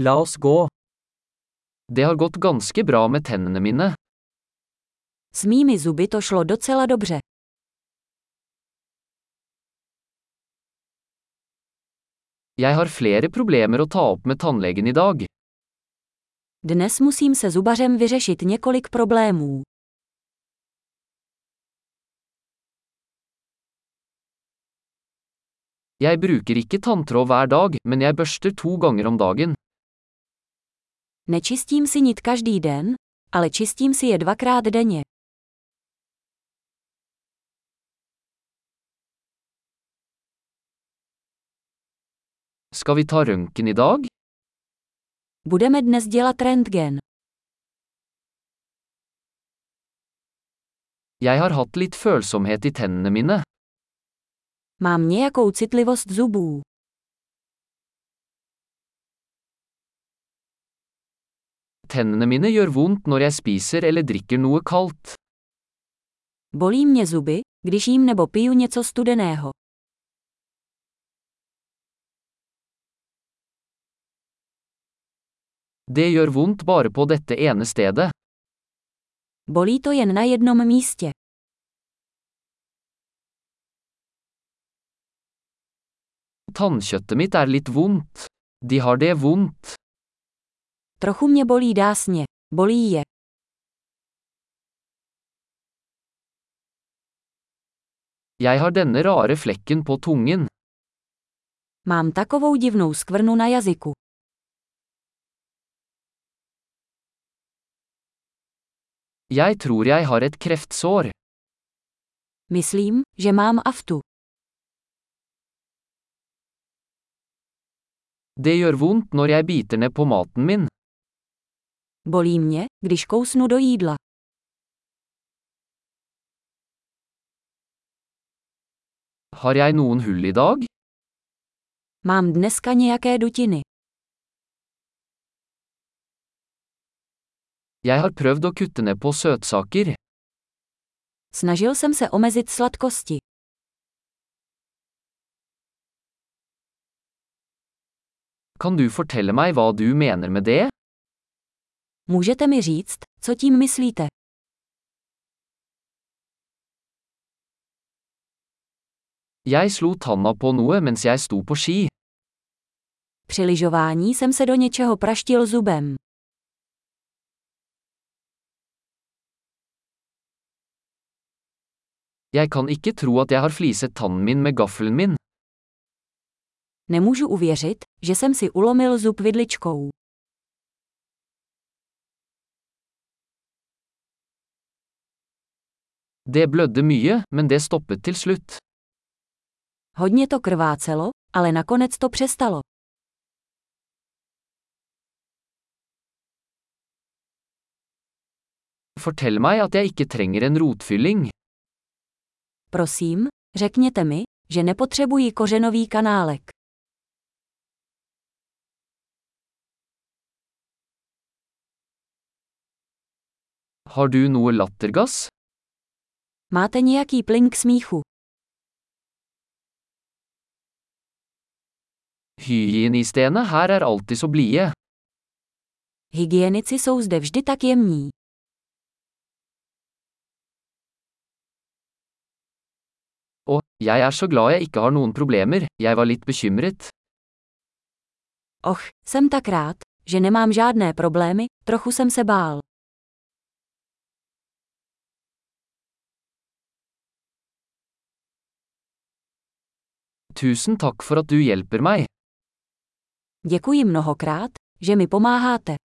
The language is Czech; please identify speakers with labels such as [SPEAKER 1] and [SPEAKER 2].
[SPEAKER 1] La oss gå.
[SPEAKER 2] Det har gått ganske bra med tennene mine.
[SPEAKER 3] S mými zuby to šlo docela dobře.
[SPEAKER 2] Jeg har flere problemer å ta opp med tannlegen i dag.
[SPEAKER 3] Dnes musím se zubařem vyřešit několik problémů.
[SPEAKER 2] Jeg bruker ikke tanntråd hver dag, men jeg børster to ganger om dagen.
[SPEAKER 3] Nečistím si nit každý den, ale čistím si je dvakrát denně.
[SPEAKER 2] Skal vi ta røntgen i dag?
[SPEAKER 3] Budeme dnes dělat rentgen.
[SPEAKER 2] Jeg har hatt litt følsomhet i tennene mine.
[SPEAKER 3] Mám nějakou citlivost zubů.
[SPEAKER 2] Tennene mine gjør vondt når jeg spiser eller drikker noe kaldt.
[SPEAKER 3] Bolí mě zuby, když jím nebo piju něco studeného.
[SPEAKER 2] Det gjør vondt bare på dette ene stedet.
[SPEAKER 3] Bolí to jen na jednom místě.
[SPEAKER 2] Tannkjøttet mitt er litt vondt. De har det vondt.
[SPEAKER 3] Trochu mě bolí dásně. Bolí je.
[SPEAKER 2] Jeg har denne rare flekken på tungen.
[SPEAKER 3] Mám takovou divnou skvrnu na jazyku.
[SPEAKER 2] Jeg tror jeg har et kreftsår.
[SPEAKER 3] Myslím, že mám aftu.
[SPEAKER 2] Det gjør vondt når jeg biter ned på maten min.
[SPEAKER 3] Bolí mě, když kousnu do jídla.
[SPEAKER 2] Har jeg noen hull i dag?
[SPEAKER 3] Mám dneska nějaké dutiny.
[SPEAKER 2] Jeg har prøvd å kutte ned på søtsaker.
[SPEAKER 3] Snažil jsem se omezit sladkosti.
[SPEAKER 2] Kan du fortelle meg hva du mener med det?
[SPEAKER 3] Můžete mi říct, co tím myslíte?
[SPEAKER 2] Jeg slo tanna på noe mens jeg sto på ski.
[SPEAKER 3] Při lyžování jsem se do něčeho praštil zubem.
[SPEAKER 2] Jeg kan ikke tro at jeg har fliset tannen min med gaffelen min.
[SPEAKER 3] Nemůžu uvěřit, že jsem si ulomil zub vidličkou.
[SPEAKER 2] Det blødde mye, men det stoppet til slutt.
[SPEAKER 3] Hodně to krvácelo, ale nakonec to přestalo.
[SPEAKER 2] Fortell meg at jeg ikke trenger en rotfylling.
[SPEAKER 3] Prosím, řekněte mi, že nepotřebuji kořenový kanálek.
[SPEAKER 2] Har du noe lattergass?
[SPEAKER 3] Máte nějaký plyn k smíchu?
[SPEAKER 2] Hygienistene her er alltid så blide.
[SPEAKER 3] Hygienici jsou zde vždy tak jemní.
[SPEAKER 2] Og, jeg er så glad jeg ikke har noen problemer, jeg var litt bekymret.
[SPEAKER 3] Och, jsem tak rád, že nemám žádné problémy, trochu jsem se bál.
[SPEAKER 2] Tusen takk for at du hjelper meg.
[SPEAKER 3] Děkuji mnohokrát, že mi pomáháte.